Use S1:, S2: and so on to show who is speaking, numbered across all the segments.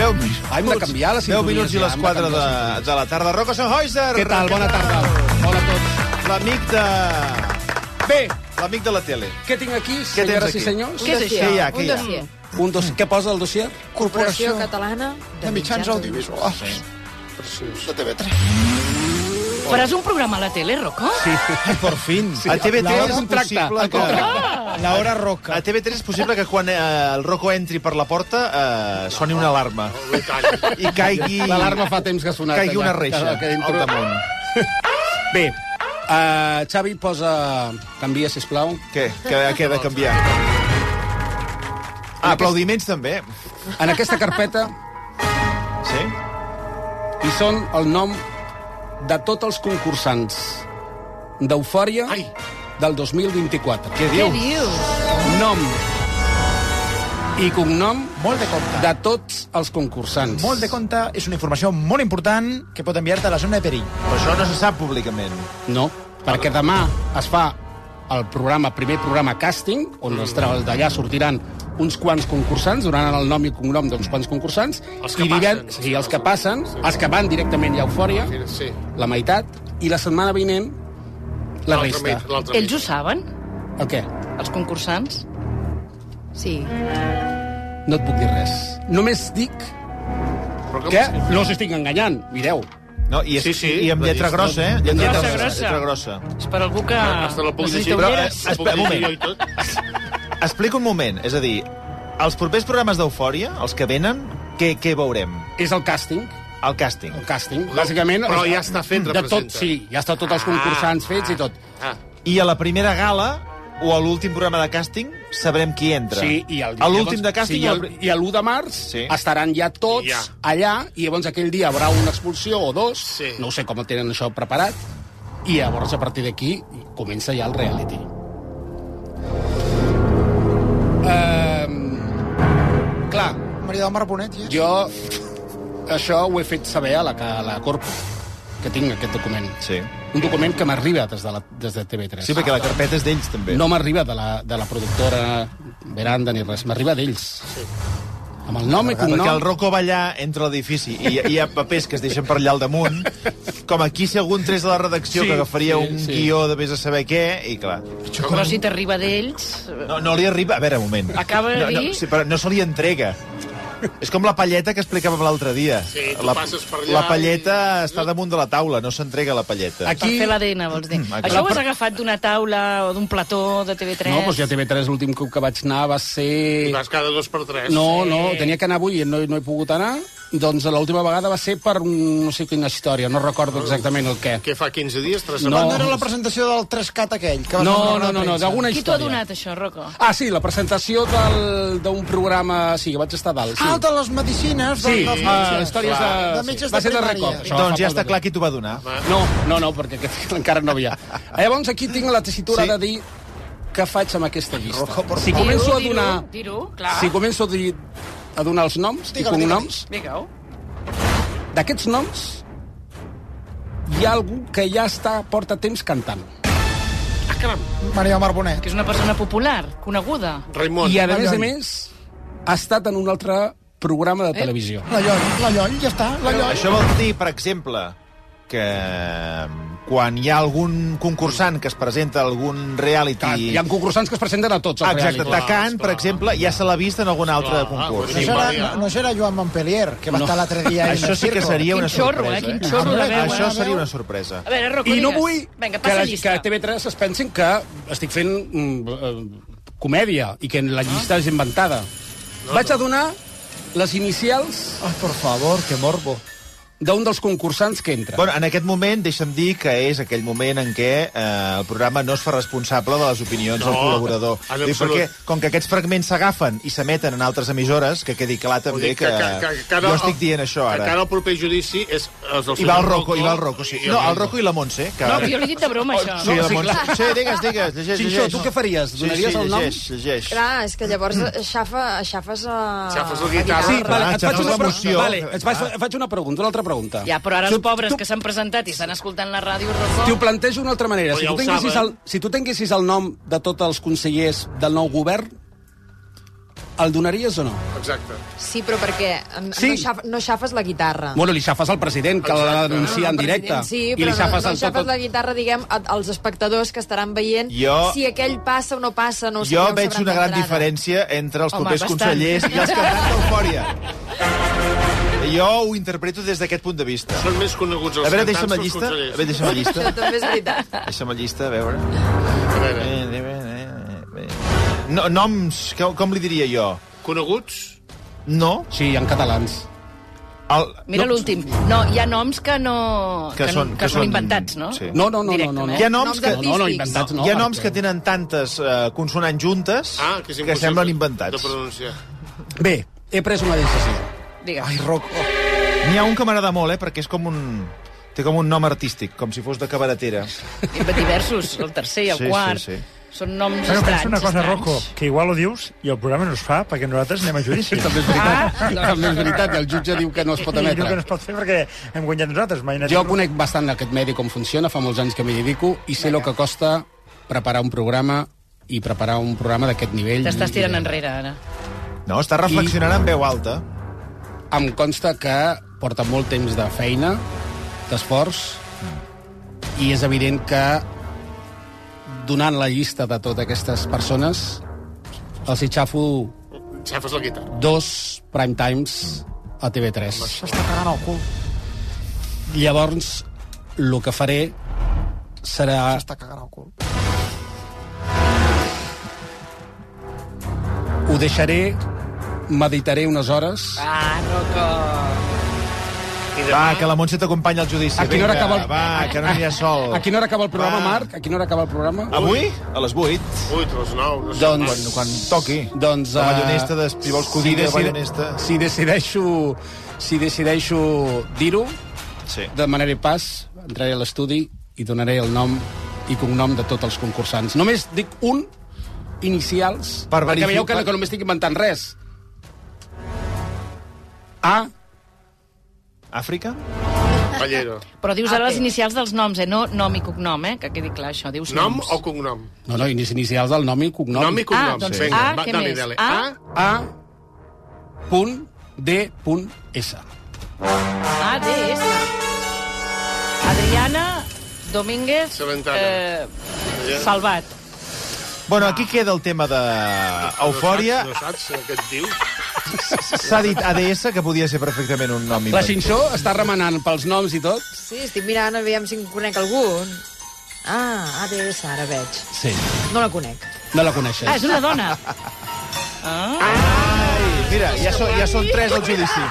S1: hem de canviar
S2: 10
S1: les sintonies.
S2: minuts i
S1: ja,
S2: les
S1: hem de
S2: 4 de,
S1: canviar les sintonies.
S2: de la tarda. Rocco Sennhäuser!
S1: Què tal? Bona tarda. Hola a tots.
S2: L'amic de...
S1: Bé,
S2: L'amic de la tele.
S1: què tinc aquí,
S2: Què tens
S1: senyores
S2: aquí?
S1: i senyors?
S3: Què és
S2: dossier,
S3: això?
S2: hi ha, què
S3: un
S2: hi ha?
S3: dossier.
S1: Un dos... Què posa el dossier?
S3: Corporació Catalana de,
S4: de mitjans audiovisuals. Sí. De TV3.
S5: Faràs un programa a la tele, Rocco? Sí.
S2: Ai, por fin. Sí, a TV3 és impossible que...
S6: La hora roca.
S2: A TV3 és possible que quan eh, el Rocco entri per la porta eh, soni una alarma. I caigui...
S1: L'alarma fa temps que ha sonat.
S2: Caigui una
S1: allà,
S2: reixa
S1: que- que dintre-
S2: al damunt.
S1: Bé, uh, Xavi posa... Canvia, sisplau.
S2: Què? Què, què ha de canviar? Ah, aplaudiments també.
S1: En aquesta carpeta
S2: Sí?
S1: hi són el nom de tots els concursants d'Eufòria del 2024.
S2: Què
S3: Què
S2: diu?
S3: dius?
S1: Nom i cognom
S6: Molt de compte.
S1: de tots els concursants.
S6: Molt de compte és una informació molt important que pot enviar-te a la zona de perill.
S2: Però això no se sap públicament.
S1: No, perquè demà es fa el programa, primer programa càsting, on els tra- d'allà sortiran uns quants concursants, donaran el nom i cognom d'uns quants concursants,
S7: Els
S1: i
S7: que
S1: divers-
S7: passen.
S1: sí, els que passen, els que van directament a Eufòria,
S7: Sí.
S1: la meitat, i la setmana vinent, la
S7: L'altre
S1: resta.
S7: mite, l'altre
S5: Ells
S7: mite.
S5: ho saben,
S1: El què?
S5: els concursants?
S3: Sí.
S1: No et puc dir res. Només dic
S7: Però com
S1: que
S7: és
S1: no us estic enganyant, mireu.
S2: No, i, és,
S7: Sí, sí,
S2: i amb
S7: la
S2: lletra
S7: llista.
S2: grossa, eh?
S5: Lletra grossa.
S2: Lletra grossa.
S5: És per algú que...
S7: Hasta la puc
S5: necessita
S7: llegir, però...
S5: ulleres.
S2: ulleres.
S7: la puc
S2: Espera, un
S7: llegir
S2: moment.
S7: jo i tot.
S2: Explica un moment, és a dir, els propers programes d'Eufòria, els que venen, què, què veurem?
S1: És el càsting.
S2: El càsting.
S1: El càsting, bàsicament...
S7: però
S1: els-
S7: ja està fet,
S1: De tot,
S7: representa.
S1: sí. Ja està tots els concursants fets i tot.
S7: Ah,
S2: I a la primera gala, o a l'últim programa de càsting, sabrem qui entra.
S1: Sí, i el,
S2: A l'últim
S1: llavors-
S2: de càsting...
S1: Sí, i, el, i l'1 de març sí.
S2: Sí.
S1: estaran ja tots
S7: Ja.
S1: allà, i llavors aquell dia hi haurà una expulsió o dos,
S7: Sí.
S1: no ho sé com el tenen això preparat, i llavors a partir d'aquí comença ja el reality. Uh, clar,
S6: Maria del Mar Bonet, ja.
S1: jo això ho he fet saber a la, a la Corpo, que tinc aquest document.
S2: Sí.
S1: Un document que m'arriba des, de la, des de TV3.
S2: sí, perquè la carpeta és d'ells, també.
S1: No m'arriba de, la, de la productora Veranda ni res, m'arriba d'ells. Sí. Amb el nom i
S2: Ah, Perquè
S1: cognom...
S2: el Rocco va allà entre l'edifici i hi- hi ha papers que es deixen per allà al damunt, com aquí si algun tres de la redacció
S1: Sí,
S2: que agafaria
S1: sí,
S2: un
S1: sí.
S2: guió de vés a saber què, i clar...
S5: Però si t'arriba d'ells...
S2: No, no li arriba... A veure, un moment.
S5: Acaba de
S2: no, no,
S5: dir-
S2: sí, però no se li entrega. És com la palleta que explicàvem l'altre dia.
S7: Sí, tu
S2: la,
S7: passes per allà
S2: la palleta
S7: i-
S2: està damunt de la taula, no s'entrega la palleta.
S5: Per
S1: Aquí...
S5: fer l'ADN, vols dir.
S2: Mm,
S5: Això
S2: clar,
S5: ho has
S2: però-
S5: agafat d'una taula o d'un plató de TV3?
S1: No, doncs ja TV3 l'últim cop que vaig anar va
S7: I
S1: ser...
S7: vas cada dos per tres.
S1: No, no, tenia que anar avui i no, no he pogut anar. Doncs l'última vegada va ser per un- no sé quina història, no recordo exactament el què.
S7: Què fa, 15 dies? Tres
S1: No.
S6: Quan
S7: setmanes?
S6: Ah. era la presentació del Trescat aquell? Que
S1: No,
S6: vas fer
S1: no,
S6: una
S1: no,
S6: roda de
S1: no
S6: premsa?
S1: d'alguna
S5: Qui t'ho ha
S1: història.
S5: donat, això, Rocco?
S1: Ah, sí, la presentació del- d'un programa... Sí, que vaig estar a dalt,
S6: Ah,
S1: sí.
S6: de les medicines.
S1: Sí,
S6: dels
S1: uh,
S6: metges.
S1: històries de...
S6: De metges
S1: va
S6: de
S1: ser de
S6: primària.
S1: recop.
S2: Doncs
S1: això, fa
S2: ja
S1: poc
S2: està
S1: de
S2: clar qui t'ho va donar.
S1: No, no, no, perquè aquest encara no havia. Llavors, aquí tinc la tessitura
S2: Sí.
S1: sí. de dir què faig amb aquesta llista.
S6: Rojo, por
S1: si
S6: favor.
S1: començo a
S5: Dir-ho,
S1: donar...
S5: dir-ho, Dir-ho, clar.
S1: Si començo a, dir, a donar els noms i
S6: Digue-li,
S1: cognoms,
S5: Vinga-ho.
S1: d'aquests noms hi ha algú que ja està porta temps cantant.
S7: Ah, caram.
S6: Maria del Mar Bonet.
S5: Que és una persona popular, coneguda.
S7: Raimon.
S1: I, a més a
S6: Balloni.
S1: més, ha estat en un altre programa de
S5: Eh?
S1: televisió.
S6: La Lloll, la Lloll, ja està, la Lloll.
S2: Això vol dir, per exemple, que mm, quan hi ha algun concursant que es presenta a algun
S1: Clar,
S2: reality...
S1: Hi ha concursants que es presenten a tots. els
S2: Exacte,
S1: reality.
S2: tacant, per exemple, ja se l'ha vist en algun altre
S7: Clar,
S2: concurs.
S6: No
S7: Sí,
S6: serà,
S7: Maria.
S6: no, no serà Joan Montpellier, que va
S1: No.
S6: estar l'altre dia ahí en
S2: Això
S6: el
S2: sí que
S6: circo.
S2: seria
S5: Quin
S2: una
S5: xorro,
S2: sorpresa.
S5: eh? Quin xorro de veu,
S2: Això
S6: eh?
S2: seria una sorpresa.
S5: A veure, Rocco,
S1: I no
S5: digues.
S1: vull
S5: Vinga,
S1: que,
S5: passa
S1: la,
S5: llista.
S1: que TV3 es pensin que estic fent mm, eh, comèdia i que la llista és inventada. Vaig a donar les inicials
S6: Ai, por favor, que morbo.
S1: d'un dels concursants que entra.
S2: Bueno, en aquest moment, deixa'm dir que és aquell moment en què eh, el programa no es fa responsable de les opinions
S7: No,
S2: del col·laborador.
S7: en
S2: Dic,
S7: absolut.
S2: perquè, com que aquests fragments s'agafen i s'emeten en altres emissores, que quedi clar també que,
S7: ara-
S2: jo estic dient això
S7: Que
S2: ara.
S7: cara al proper judici és... és el
S2: I va el Rocco, i va el Rocco, sí. No, el Rocco i la Montse. Que...
S5: No, però jo l'he dit de broma, això.
S2: Oh, Sí, la Montse. Sí, digues, digues, llegeix,
S1: Xinxó,
S2: llegeix.
S1: tu què faries?
S2: Sí,
S1: Donaries
S2: sí,
S1: el nom?
S2: Llegeix, llegeix.
S3: Clar, és que llavors aixafa, aixafes a...
S7: Aixafes la guitarra.
S1: Sí, vale,
S2: Ah,
S1: et faig
S2: xafes
S1: una,
S2: l'emoció.
S1: pregunta. vale, et faig, faig una pregunta, una altra pregunta.
S5: Ja, però ara
S1: Si
S5: els
S1: ho-
S5: pobres
S1: tu-
S5: que s'han presentat i estan escoltant la ràdio, Rocco...
S1: T'ho plantejo d'una altra manera.
S7: Però
S1: Si
S7: ja
S1: tu,
S7: ho
S1: tinguessis el,
S7: saben.
S1: si tu tinguessis el nom de tots els consellers del nou govern, el donaries o no?
S7: Exacte.
S3: Sí, però perquè en-
S1: Sí.
S3: No, xaf, no xafes la guitarra.
S1: Bueno, li xafes al president, que l'ha de denunciar en directe.
S3: Ah. Sí,
S1: I
S3: però
S1: li xafes
S3: no,
S1: en
S3: no xafes
S1: tot...
S3: la guitarra, diguem, a- als espectadors que estaran veient
S2: Jo-
S3: si aquell passa o no passa, no ho
S2: Jo
S3: sabran,
S2: veig
S3: sabran
S2: una gran
S3: d'entrada.
S2: diferència entre els
S5: Home,
S2: propers
S5: bastant.
S2: consellers i els cantants d'Eufòria. Jo ho interpreto des d'aquest punt de vista.
S7: Són més coneguts els
S2: A veure,
S7: cantants
S2: deixa'm la
S7: que els
S2: llista. A
S7: consellers.
S2: veure, deixa'm la
S3: Això
S2: llista.
S3: també és veritat.
S2: Deixa'm la llista, a veure.
S7: A veure,
S2: Eh, eh, eh, eh, eh. No, noms, com, com li diria jo?
S7: coneguts?
S2: No.
S1: Sí, en catalans.
S2: El,
S5: Mira
S2: no,
S5: l'últim. No, hi ha noms que no...
S2: Que són-
S5: no-
S2: que
S5: que són
S2: són-
S5: inventats, no?
S2: sí.
S1: No, no, no, no, no.
S5: Directament.
S1: no.
S2: Hi ha noms
S3: Noms
S2: que...
S1: No, no, no,
S3: artístics.
S1: inventats no.
S2: hi ha noms que
S1: perquè-
S2: tenen tantes eh, consonants juntes
S7: Ah, que és impossible
S2: semblen
S7: De
S2: inventats.
S7: pronunciar.
S1: Bé, he pres una decisió.
S2: Ah.
S5: Digues.
S6: Ai, Rocco.
S2: N'hi ha un que m'agrada molt, eh, perquè és com un... Té com un nom artístic, com si fos de cabaretera.
S5: diversos, el tercer i el
S2: Sí, sí,
S5: quart.
S2: sí.
S5: Són noms
S8: Bueno,
S5: estranys.
S8: pensa una cosa,
S5: estranys.
S8: Rocco, que igual ho dius i el programa no es fa perquè nosaltres anem a judici.
S1: També és veritat. També és veritat. I el jutge diu que no es pot
S8: I diu que no
S1: emetre.
S8: es pot fer perquè hem guanyat nosaltres. Mai
S1: Jo conec bastant aquest medi, com funciona, fa molts anys que m'hi dedico, i sé el que costa preparar un programa i preparar un programa d'aquest nivell.
S5: T'estàs tirant
S1: I-
S5: enrere, ara.
S2: No, està reflexionant en veu alta.
S1: Em consta que porta molt temps de feina, d'esforç, i és evident que donant la llista de totes aquestes persones els hi xafo
S7: Xafes la guitarra.
S1: dos prime times a TV3.
S6: S'està cagant al cul.
S1: Llavors, el que faré serà
S6: S'està cagant al cul.
S1: Ho deixaré, meditaré unes hores.
S5: Ah, Rocco.
S2: Va, que la Montse t'acompanya al judici.
S1: A quina hora acaba el-
S2: Va, que no n'hi ha sol.
S1: A quina hora acaba el programa,
S2: Va.
S1: Marc? A quina hora acaba el programa?
S2: Avui? A les 8.
S7: 8 o les 9, no sé.
S1: Ah, Doncs-
S2: Quan, quan toqui.
S1: Doncs...
S2: La
S1: eh,
S2: ballonesta, de, si vols que ho digui, la ballonesta.
S1: Si decideixo, si decideixo dir-ho,
S2: Sí.
S1: demanaré pas, entraré a l'estudi i donaré el nom i cognom de tots els concursants. Només dic un, inicials,
S2: Per
S1: perquè veieu que,
S2: verificar-
S1: que no m'estic inventant res. A,
S2: Àfrica?
S7: Pallero.
S2: Doncs-
S5: Però dius ara
S3: Ah,
S5: les
S3: bé.
S5: inicials dels noms, eh? No nom i cognom, eh? Que quedi clar, això. Dius
S7: Nom
S5: noms.
S7: o cognom?
S1: no, no, inici- inicials del nom i cognom.
S7: Nom i cognom.
S5: Ah, doncs
S7: Vinga,
S5: A,
S7: va,
S5: què
S7: dale,
S5: més?
S7: dale.
S5: A?
S7: A,
S1: A, punt, D, punt, S.
S5: A, D, S. Adriana Domínguez...
S7: Celentano.
S5: Eh, Salvat.
S2: Bueno, aquí queda el tema de eufòria.
S7: No saps, no saps què et diu?
S2: S'ha dit ADS, que podia ser perfectament un nom
S1: La
S2: inventat.
S1: Xinxó està remenant pels noms i tot?
S3: Sí, estic mirant, aviam si en conec algun. Ah, ADS, ara veig.
S1: Sí.
S3: No la conec.
S1: No la coneixes.
S5: Ah, és una dona. Ah,
S2: Ai, mira, ja, so, ja són tres al judici.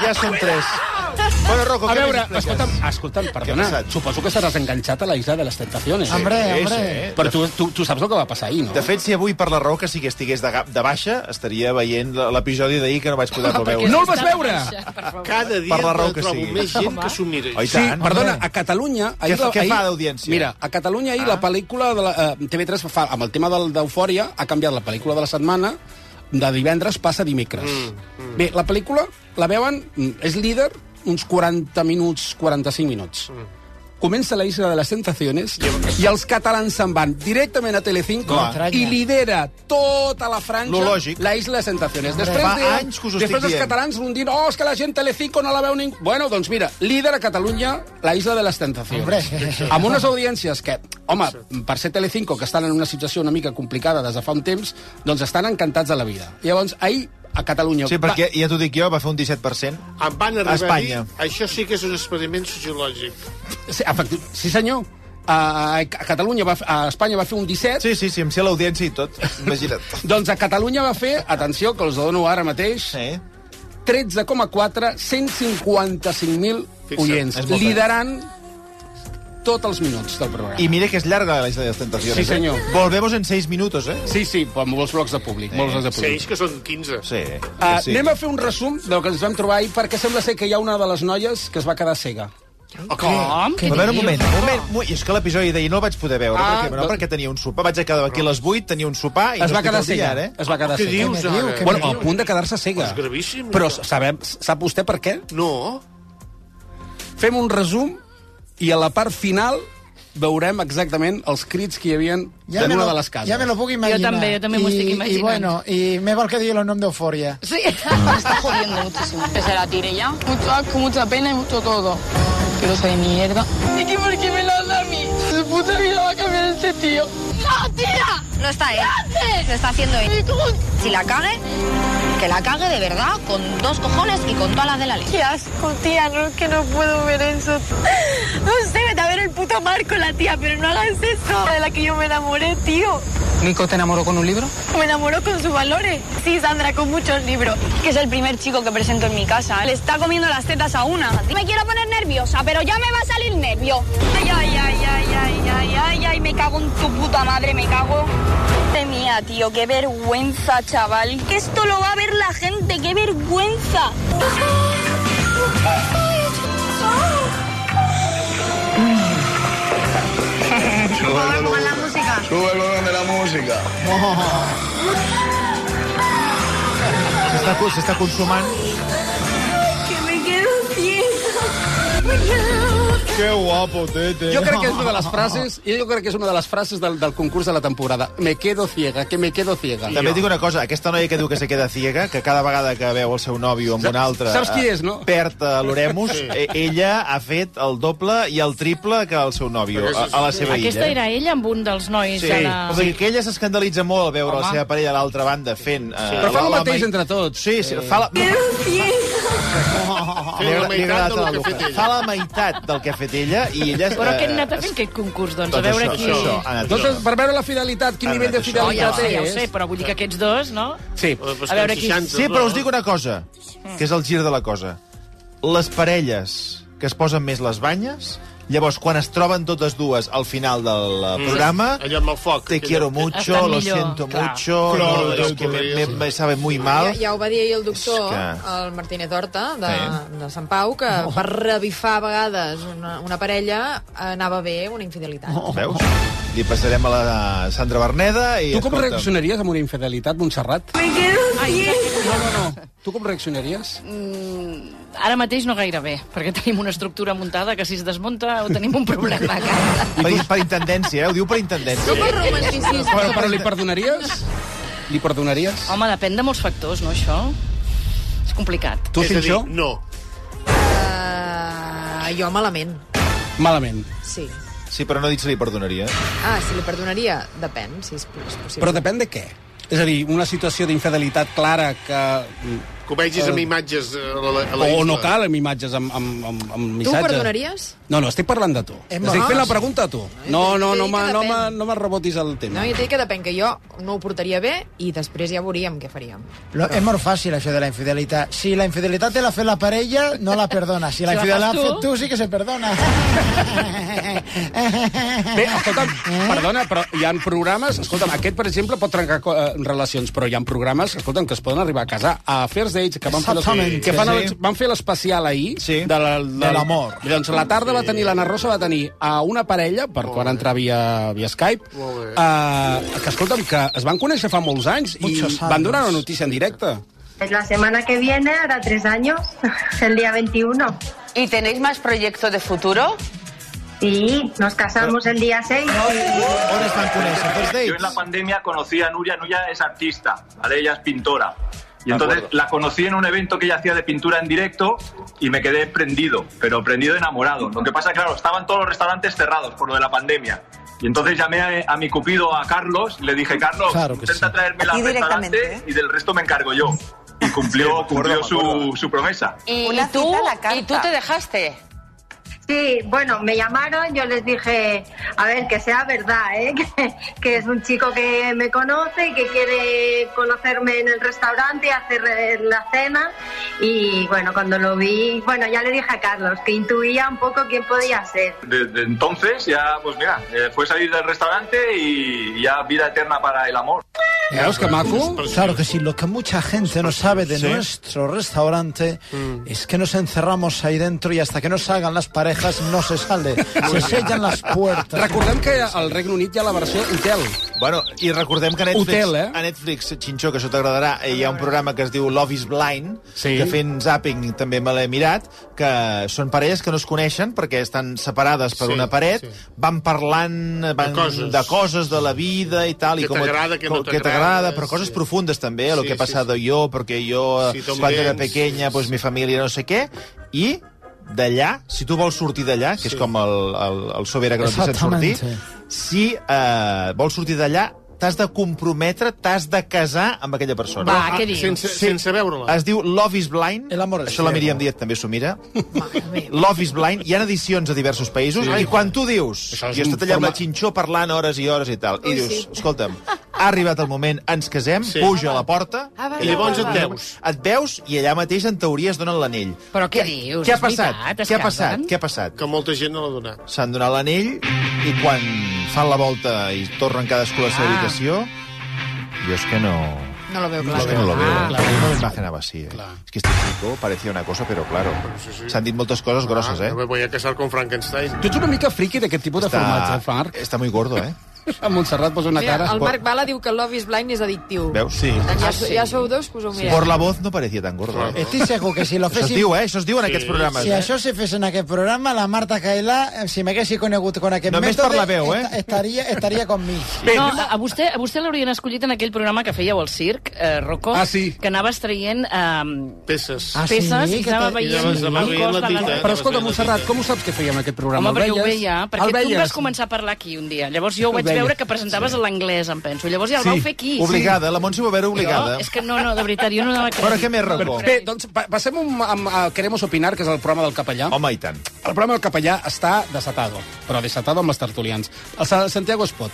S2: Ja són tres. Bueno, Rocco,
S1: A
S2: què
S1: veure,
S2: m'expliques?
S1: escolta'm, escolta'm, perdona,
S2: passat?
S1: suposo que estaràs enganxat a la Isla de les Tentaciones.
S2: Sí,
S6: Hombre,
S2: sí,
S6: hombre.
S2: sí.
S1: Però tu, tu, tu saps el que va passar ahir, no?
S2: De fet, si avui, per la raó que sí que estigués de, ga- de baixa, estaria veient l- l'episodi d'ahir que no vaig poder veure.
S1: no el vas veure!
S7: Cada dia
S2: Per la raó que
S7: trobo
S2: sigui.
S7: més gent que s'ho mira.
S2: Oi,
S1: Sí,
S2: tant,
S1: perdona,
S2: home.
S1: a Catalunya...
S2: Què fa-
S1: la-
S2: què fa d'audiència?
S1: Mira, a Catalunya ahir ah. la pel·lícula de la, eh, TV3 fa, amb el tema del- d'Eufòria ha canviat la pel·lícula de la setmana de divendres passa a dimecres. Mm, mm. Bé, la pel·lícula la veuen, mm, és líder, uns 40 minuts, 45 minuts. Mm. Comença la Isla de les Tentaciones i els catalans se'n van directament a Telecinco
S2: Clar.
S1: i lidera tota la franja
S2: Lo lògic.
S1: la Isla de les Tentaciones. Després,
S2: fa
S1: de,
S2: anys que us ho estic
S1: després els
S2: dient.
S1: catalans van dir oh, és que la gent Telecinco no la veu ningú. Bueno, doncs mira, líder a Catalunya, la Isla de les Tentacions. Hombre. Amb unes audiències que, home, per ser Telecinco, que estan en una situació una mica complicada des de fa un temps, doncs estan encantats de la vida. Llavors, ahir, a Catalunya...
S2: Sí, perquè, ja t'ho dic jo, va fer un 17%.
S7: Em van arribar
S2: A Espanya.
S7: a dir, això sí que és un experiment sociològic.
S1: Sí, efecti... sí senyor. A, a Catalunya, va, fer- a Espanya va fer un 17,
S2: Sí, sí, sí, em sé l'audiència i tot. Imagina't.
S1: doncs a Catalunya va fer, atenció, que els dono ara mateix,
S2: Sí.
S1: 13,4, 155.000
S7: Fixa't,
S1: oients,
S2: és molta.
S1: liderant tots els minuts del programa.
S2: I mira que és llarga la isla de les tentacions.
S1: Sí, senyor.
S2: Eh? Volvemos en 6 minuts, eh?
S1: Sí, sí, amb molts blocs de públic. Molts blocs de
S7: Sí,
S1: públic.
S7: és que són 15.
S2: Sí.
S1: Uh,
S2: sí.
S1: Eh, Anem a fer un resum del que ens vam trobar ahir, perquè sembla ser que hi ha una de les noies que es va quedar cega.
S5: Com?
S2: A veure, un
S5: dius?
S2: moment, un moment. Mu- I és que l'episodi d'ahir no el vaig poder veure,
S1: Ah,
S2: perquè, no,
S1: doncs-
S2: perquè tenia un sopar. Vaig acabar aquí a les 8, tenia un sopar i
S1: Es
S2: no
S1: va
S2: estic
S1: quedar
S2: al dia,
S1: cega.
S2: ara, eh?
S1: Es va quedar
S7: Què
S1: cega.
S7: dius,
S6: diu?
S7: ara?
S6: Què
S1: Bueno, a punt de quedar-se cega.
S7: És gravíssim,
S1: Però
S7: això.
S1: sabem, sap vostè per què?
S7: No,
S1: Fem un resum i a la part final veurem exactament els crits que hi havia ja en
S6: me
S1: una
S6: lo-
S1: de les cases.
S6: Ja me lo puc imaginar.
S5: també, jo també m'ho estic
S6: I,
S5: imaginant.
S6: bueno, i me vol que digui el nom d'Eufòria.
S5: Sí.
S9: Me está jodiendo muchísimo. Que se la tire ya.
S10: Mucho asco, mucha pena y mucho todo. Pero soy mierda. ¿Y que por qué me lo da a mí? Su puta vida va a cambiar este tío. ¡No, tía!
S9: No está él. Lo está haciendo él. Si la cague, que la cague de verdad, con dos cojones y con todas las de la ley.
S10: ¡Qué asco, tía! No es que no puedo ver eso. No sé, vete a ver el puto marco, la tía, pero no hagas eso. De la que yo me enamoré, tío.
S9: ¿Nico te enamoró con un libro?
S10: Me enamoró con sus valores. Sí, Sandra, con muchos libros.
S9: Que es el primer chico que presento en mi casa.
S10: Le está comiendo las tetas a una.
S9: Me quiero poner nerviosa, pero ya me va a salir nervio.
S10: Ay, ay, ay, ay, ay, ay, ay, ay, me cago en tu puta madre, me cago. De mía, tío, qué vergüenza, chaval. Que esto lo va a ver la gente, qué vergüenza.
S4: Sube el volumen,
S9: la música.
S4: sube el volumen de la música.
S2: S'està s'està consumant...
S10: Que me quedo ciego. Me quedo
S2: Que guapo, tete.
S1: Jo crec que és una de les frases, i jo crec que és una de les frases del, del concurs de la temporada. Me quedo ciega, que me quedo ciega.
S2: També et dic una cosa, aquesta noia que diu que se queda ciega, que cada vegada que veu el seu nòvio amb un
S1: Saps-
S2: altre...
S1: saps qui
S2: eh,
S1: és, no?
S2: Perd eh, l'Oremus, eh, ella ha fet el doble i el triple que el seu nòvio a, a la seva
S5: Aquesta
S2: illa.
S5: era ella amb un dels nois.
S2: eh? Sí.
S5: a
S2: O sigui, que ella s'escandalitza molt al veure Home. la seva parella a l'altra banda fent... Eh,
S1: Però fa el
S2: la- la
S1: mateix
S2: mai-
S1: entre tots.
S2: Sí, sí, fa la...
S10: ciego.
S2: Li agra-
S7: la
S2: li ha
S7: meitat
S2: agradat
S7: del
S2: a la
S7: que ha
S2: Luca.
S7: fet ella.
S2: Fa la meitat del que ha fet ella i ella...
S5: Però què han anat a
S2: eh,
S5: fer aquest concurs, doncs?
S2: Doncs
S5: a veure
S2: això,
S5: qui...
S2: això, ha anat
S1: Doncs, per veure la fidelitat, quin
S2: Ara,
S1: nivell de
S2: això-
S5: No, Oh, ja ho
S1: fidelitat
S5: sé, ja ho
S1: és.
S5: sé, però vull dir que aquests dos, no?
S1: Sí.
S7: Eh, però és
S5: A
S7: que
S5: veure
S7: en
S5: qui-
S7: 60,
S2: Sí, però
S7: no?
S2: us dic una cosa,
S5: Mm.
S2: que és el gir de la cosa. Les parelles que es posen més les banyes, llavors, quan es troben totes dues al final del
S1: Mm.
S2: eh, programa...
S7: Allò amb el foc.
S2: Te
S7: aquella-
S2: quiero mucho,
S5: Estan
S2: lo
S5: millor,
S2: siento
S5: clar.
S2: mucho,
S7: Claro,
S2: no, es
S7: yo
S2: que me,
S7: podría,
S2: me,
S7: sí.
S2: me sabe muy
S3: Ja,
S2: mal.
S3: ja ho va dir ahir el doctor,
S2: Ah. És que-
S3: el Martínez Horta, de,
S2: Sí. Oh.
S3: de Sant Pau, que per revifar a vegades una, una parella anava bé una infidelitat.
S2: Veus? Li passarem a la Sandra Berneda i...
S1: Tu com
S2: escolta'm,
S1: reaccionaries amb una infidelitat, Montserrat?
S10: Me quedo ciego.
S1: No, no, no. Tu com reaccionaries?
S5: Ara mateix no gaire bé, perquè tenim una estructura muntada que si es desmunta o tenim un problema a casa.
S2: Per, per intendència, eh? Ho diu per
S3: Tu
S2: intendència.
S3: per romanticisme...
S1: Però, però li perdonaries? Li perdonaries?
S5: Home, depèn de molts factors, no, això? És complicat.
S1: Tu,
S7: És a dir,
S1: Cinxó,
S7: no.
S3: Uh, jo malament,
S1: malament.
S3: sí.
S2: Sí, però no eh? dit se li perdonaria.
S3: Ah, si li perdonaria? Depèn, si és, és possible.
S1: Però depèn de què. És a dir, una situació d'infidelitat clara que...
S7: Que ho vegis
S2: Ah.
S7: amb imatges eh, a la, a la
S1: O
S7: isla.
S1: no cal amb imatges, amb, amb, amb, amb
S3: Tu
S1: missatges.
S3: ho perdonaries?
S1: No, no, estic parlant de tu.
S6: Em
S1: Estic fent
S6: vas?
S1: la pregunta a tu.
S6: t'he
S1: No, no,
S6: dit
S1: no,
S6: que
S1: me, no, me,
S6: depèn.
S1: no me rebotis el
S3: No,
S1: tema.
S3: jo t'he dit que depèn, que jo no ho portaria bé i després ja veuríem què faríem.
S6: Lo, és molt fàcil, això de la infidelitat. Si la infidelitat te l'ha fet la parella, no la perdona. Si la
S5: Si la
S6: infidelitat
S5: fas
S6: l'ha
S5: tu-
S6: fet tu, sí que se perdona.
S1: Bé, escolta'm, perdona, però hi ha programes... Escolta'm, aquest, per exemple, pot trencar co- eh, relacions, però hi ha programes escolta'm, que es poden arribar a casar. A First Dates, que van fer,
S6: Exactament,
S1: que fan el,
S2: sí.
S1: van fer l'especial ahir...
S2: Sí,
S1: De la-
S2: de l'amor.
S1: I Doncs la tarda va tenir, l'Anna Rosa va tenir a una parella, per quan entrar via, via Skype,
S7: Molt bé.
S1: eh, que, escolta'm, que es van conèixer fa molts anys
S6: Muchos
S1: i van donar
S6: años.
S1: una notícia en directe.
S10: Pues la semana que viene hará tres años, el día 21.
S9: ¿Y tenéis más proyectos de futuro?
S10: Sí, nos casamos el día 6.
S2: On es van conèixer? First
S11: Yo en la
S2: Dates?
S11: pandemia conocí a Nuria. Nuria es artista, ¿vale? Ella es pintora. Y entonces la conocí en un evento que ella hacía de pintura en directo y me quedé prendido, pero prendido enamorado. Lo que pasa, claro, estaban todos los restaurantes cerrados por lo de la pandemia. Y entonces llamé a, a mi cupido, a Carlos, y le dije, Carlos,
S6: Claro que
S11: intenta
S6: sí.
S11: traerme la
S9: Aquí directamente, ¿eh?
S11: restaurante y del resto me encargo yo. Y cumplió, cumplió su, su promesa.
S9: ¿Y,
S10: Una
S9: y tú,
S10: cita a la carta.
S9: ¿Y tú te dejaste?
S10: Sí, bueno, me llamaron, yo les dije, a ver, que sea verdad, ¿eh? que, que es un chico que me conoce y que quiere conocerme en el restaurante, hacer eh, la cena. Y bueno, cuando lo vi, bueno, ya le dije a Carlos que intuía un poco quién podía ser.
S11: Desde entonces ya, pues mira, eh, fue salir del restaurante y ya vida eterna para el amor.
S1: Veus que maco?
S6: Claro que sí, lo que mucha gente no sabe Mm. de nuestro restaurante es que nos encerramos ahí dentro y hasta que no salgan las rejas no se sale, se sellan las puertas.
S1: Recordem que al Regne Unit hi ha la versió Intel.
S2: Bueno, i recordem que a Netflix,
S1: Hotel, eh?
S2: a Netflix Xinxó, que això t'agradarà, eh, hi ha un programa que es diu Love is Blind, sí. que fent zapping també me l'he mirat, que són parelles que no es coneixen perquè estan separades per
S7: Sí,
S2: sí, una paret,
S7: sí.
S2: sí. van parlant van de,
S7: coses.
S2: coses. de coses, de la vida i tal.
S7: Que
S2: i com-
S7: t'agrada, que no
S2: com- que
S7: t'agrada,
S2: t'agrada, però coses
S7: sí.
S2: profundes també, el que
S7: Sí,
S2: he
S7: sí,
S2: passat jo, perquè jo
S7: Sí,
S2: sí,
S7: també,
S2: quan era
S7: sí,
S2: pequeña,
S7: sí,
S2: pues, mi família no sé què, i d'allà, si tu vols sortir d'allà, que sí. és com el, el, el Sobera que no et deixa sortir,
S6: Exactamente.
S2: si eh, vols sortir d'allà, t'has de comprometre, t'has de casar amb aquella persona.
S5: Va, què dius?
S7: Sense,
S2: Sí. Ah.
S7: sense veure-la.
S2: Es diu Love is Blind.
S6: El amor es
S2: Això la
S6: ciego.
S2: Míriam Díaz també s'ho mira.
S3: Mare meva.
S2: Love is Blind. Hi ha edicions a diversos països.
S7: Sí.
S2: I quan tu dius...
S1: Això és
S2: Jo he
S1: un
S2: estat allà amb la
S1: forma-
S2: xinxó parlant hores i hores i tal. I
S3: Ui,
S2: dius,
S3: sí.
S2: escolta'm, ha arribat el moment, ens casem,
S7: Sí.
S2: puja a la porta...
S3: Ah, va,
S7: I llavors
S3: va,
S7: et
S3: va.
S7: veus.
S2: Et veus i allà mateix, en teoria, es donen l'anell.
S5: Però què dius?
S2: Què ha
S5: És
S2: passat?
S5: veritat, es
S2: què ha
S5: casen?
S2: passat? Què ha passat?
S7: Que molta gent no l'ha donat.
S2: s'han donat l'anell i quan fan la volta i tornen cadascú a la seva
S5: Ah.
S2: habitació... Jo és que no...
S3: No lo veo
S2: Jo
S3: claro.
S2: és que no lo veo.
S5: Ah,
S2: Ah, no me imaginaba así. Eh? Es que este chico parecía una cosa, pero claro.
S7: sí, sí.
S2: S'han dit moltes coses grosses,
S7: Ah,
S2: eh?
S7: no me voy a casar con Frankenstein.
S1: Tu ets una mica friqui d'aquest tipus de formats, eh, Marc?
S2: Està muy gordo, eh?
S1: A Montserrat posa una
S3: Mira,
S1: cara...
S3: el Marc Bala diu que Love is Blind és addictiu.
S2: Veus? Sí.
S6: Ah,
S3: Ja, so- ja sou dos, pues ho mirem.
S2: Por la voz no parecía tan gordo. Eh?
S6: Estic E segur que si lo
S2: Això es
S6: féssim...
S2: diu, eh? Això es diu en aquests programes.
S6: Si això se fes en aquest programa, la Marta Cailà, eh, si m'haguessi conegut con aquest
S2: Només
S6: mètode,
S2: per la veu, eh?
S6: esta- estaria, estaria con mi.
S5: No, a a vostè, a vostè l'haurien escollit en aquell programa que fèieu al circ, eh, Rocco,
S1: Ah, sí.
S5: que anaves traient eh,
S7: Peces.
S6: Ah, sí?
S5: peces i
S6: Que
S5: estava
S6: te-
S5: veient
S7: Anaves-
S5: el
S7: anaves veient
S5: cos
S7: la
S5: de
S7: tita, eh?
S5: la...
S1: Però escolta, Montserrat, com ho saps que fèiem aquest programa?
S5: Home,
S1: El
S5: perquè ho
S1: veies?
S5: veia, eh? perquè
S1: El
S5: tu em vas
S1: veies?
S5: començar a parlar aquí un dia. Llavors jo ho
S1: El
S5: vaig
S1: veies.
S5: veure que presentaves a l'anglès, em penso. Llavors ja el
S1: Sí.
S5: vau fer aquí.
S2: Obligada, la Montse ho va veure
S5: Jo,
S2: obligada.
S5: és que no, no, de veritat, jo no dava crèdit.
S2: Però què més, Rocco?
S5: No,
S1: Bé, doncs pa- passem amb, amb, a Queremos Opinar, que és el programa del capellà.
S2: Home, i tant.
S1: El programa del capellà està desatado, però desatado amb els tertulians. El Sa- Santiago Espot.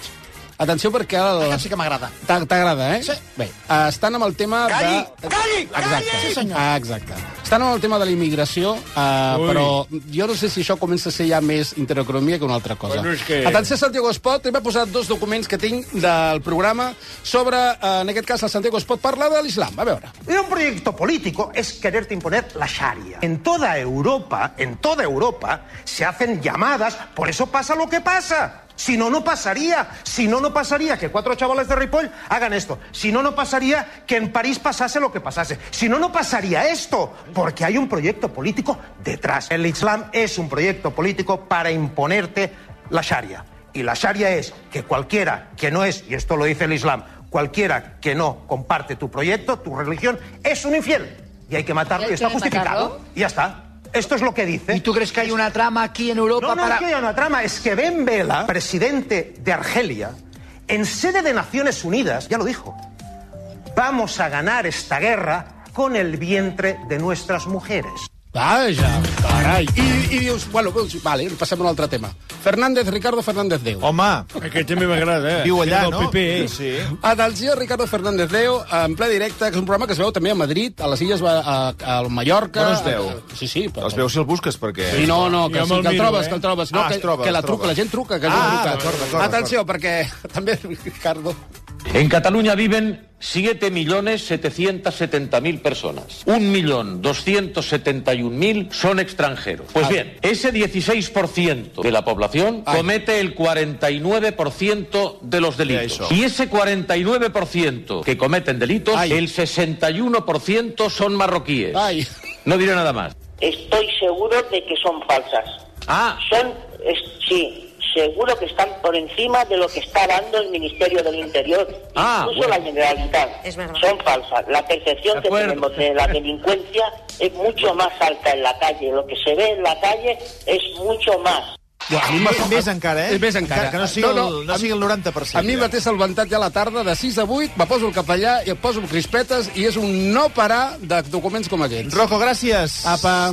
S1: Atenció perquè... El...
S6: Ah, sí que m'agrada.
S1: T'a- T'agrada, eh?
S6: Sí.
S1: Bé, eh, estan amb el tema
S6: Calli,
S1: de...
S6: calli,
S1: Exacte.
S6: calli! eh? Sí, senyor.
S1: Ah, exacte. Estan amb el tema de la immigració, eh,
S8: Ui.
S1: però jo no sé si això comença a ser ja més intereconomia que una altra cosa.
S8: Bueno, és que-
S1: Atenció, Santiago Espot, hem posat dos documents que tinc del programa sobre, eh, en aquest cas, el Santiago Espot parla de l'islam. A veure.
S12: Era un proyecto político es quererte imponer la Sharia. En toda Europa, en toda Europa, se hacen llamadas, por eso pasa lo que pasa. Si no, no pasaría. Si no, no pasaría que cuatro chavales de Ripoll hagan esto. Si no, no pasaría que en París pasase lo que pasase. Si no, no pasaría esto. Porque hay un proyecto político detrás. El Islam es un proyecto político para imponerte la Sharia. Y la Sharia es que cualquiera que no es, y esto lo dice el Islam, Cualquiera que no comparte tu proyecto, tu religión, es un infiel. Y hay que matarlo.
S3: ¿Y hay
S12: Y está
S3: que
S12: justificado.
S3: matarlo?
S12: Y ya está. Esto es lo que dice.
S6: ¿Y tú crees que hay una trama aquí en Europa
S12: No, no
S6: para...?
S12: es que haya una trama. Es que Ben Vela, presidente de Argelia, en sede de Naciones Unidas, ya lo dijo, vamos a ganar esta guerra con el vientre de nuestras mujeres.
S1: Vaja, carai. I, i dius, bueno, doncs, vale, passem a un altre tema. Fernández, Ricardo Fernández Déu.
S2: Home,
S8: Aquest també m'agrada, eh?
S2: viu allà,
S8: Del
S2: no?
S8: PP, eh?
S2: Sí.
S1: Atenció, Ricardo Fernández Déu, en ple directe, que és un programa que es veu també a Madrid, a les Illes, a, a, a Mallorca...
S2: On es veu?
S1: Sí, sí. Però...
S2: Els veus si el busques, perquè...
S1: Sí, no, no, que,
S8: Jo
S1: sí,
S8: me'l
S1: que el
S8: miro,
S1: trobes,
S8: eh?
S1: que el trobes. No,
S2: Ah,
S1: que,
S2: es troba,
S1: que la
S2: es troba.
S1: truca, la gent truca, que és
S2: Ah,
S1: ah,
S2: d'acord, d'acord,
S1: Atenció, perquè també, Ricardo...
S12: En Cataluña viven 7.770.000 personas. 1.271.000 son extranjeros. Pues bien, ese 16% de la población
S1: Ay.
S12: comete el 49% de los
S2: eso.
S12: delitos. Y ese 49% que cometen delitos,
S1: Ay.
S12: el 61% son marroquíes.
S1: Ai,
S12: No diré nada más.
S9: Estoy seguro de que son falsas.
S12: Ah,
S9: Son, es- sí, seguro que están por encima de lo que está dando el Ministerio del Interior,
S12: Ah,
S9: incluso
S12: bueno.
S9: la Generalitat.
S3: Es verdad.
S9: Son falsas. La percepción
S12: De
S9: que
S12: acuerdo.
S9: tenemos de la delincuencia es mucho más alta en la calle. Lo que se ve en la calle es mucho más.
S2: A mi m'ha- Més encara, eh?
S1: Més encara.
S2: Que no sigui
S1: No, no,
S2: el, no sigui el 90%.
S1: a mi
S2: ja.
S1: me té salvantat ja la tarda, de 6 a 8, me poso el capellà i em poso crispetes i és un no parar de documents com aquests.
S2: Rocco, gràcies.
S1: Apa.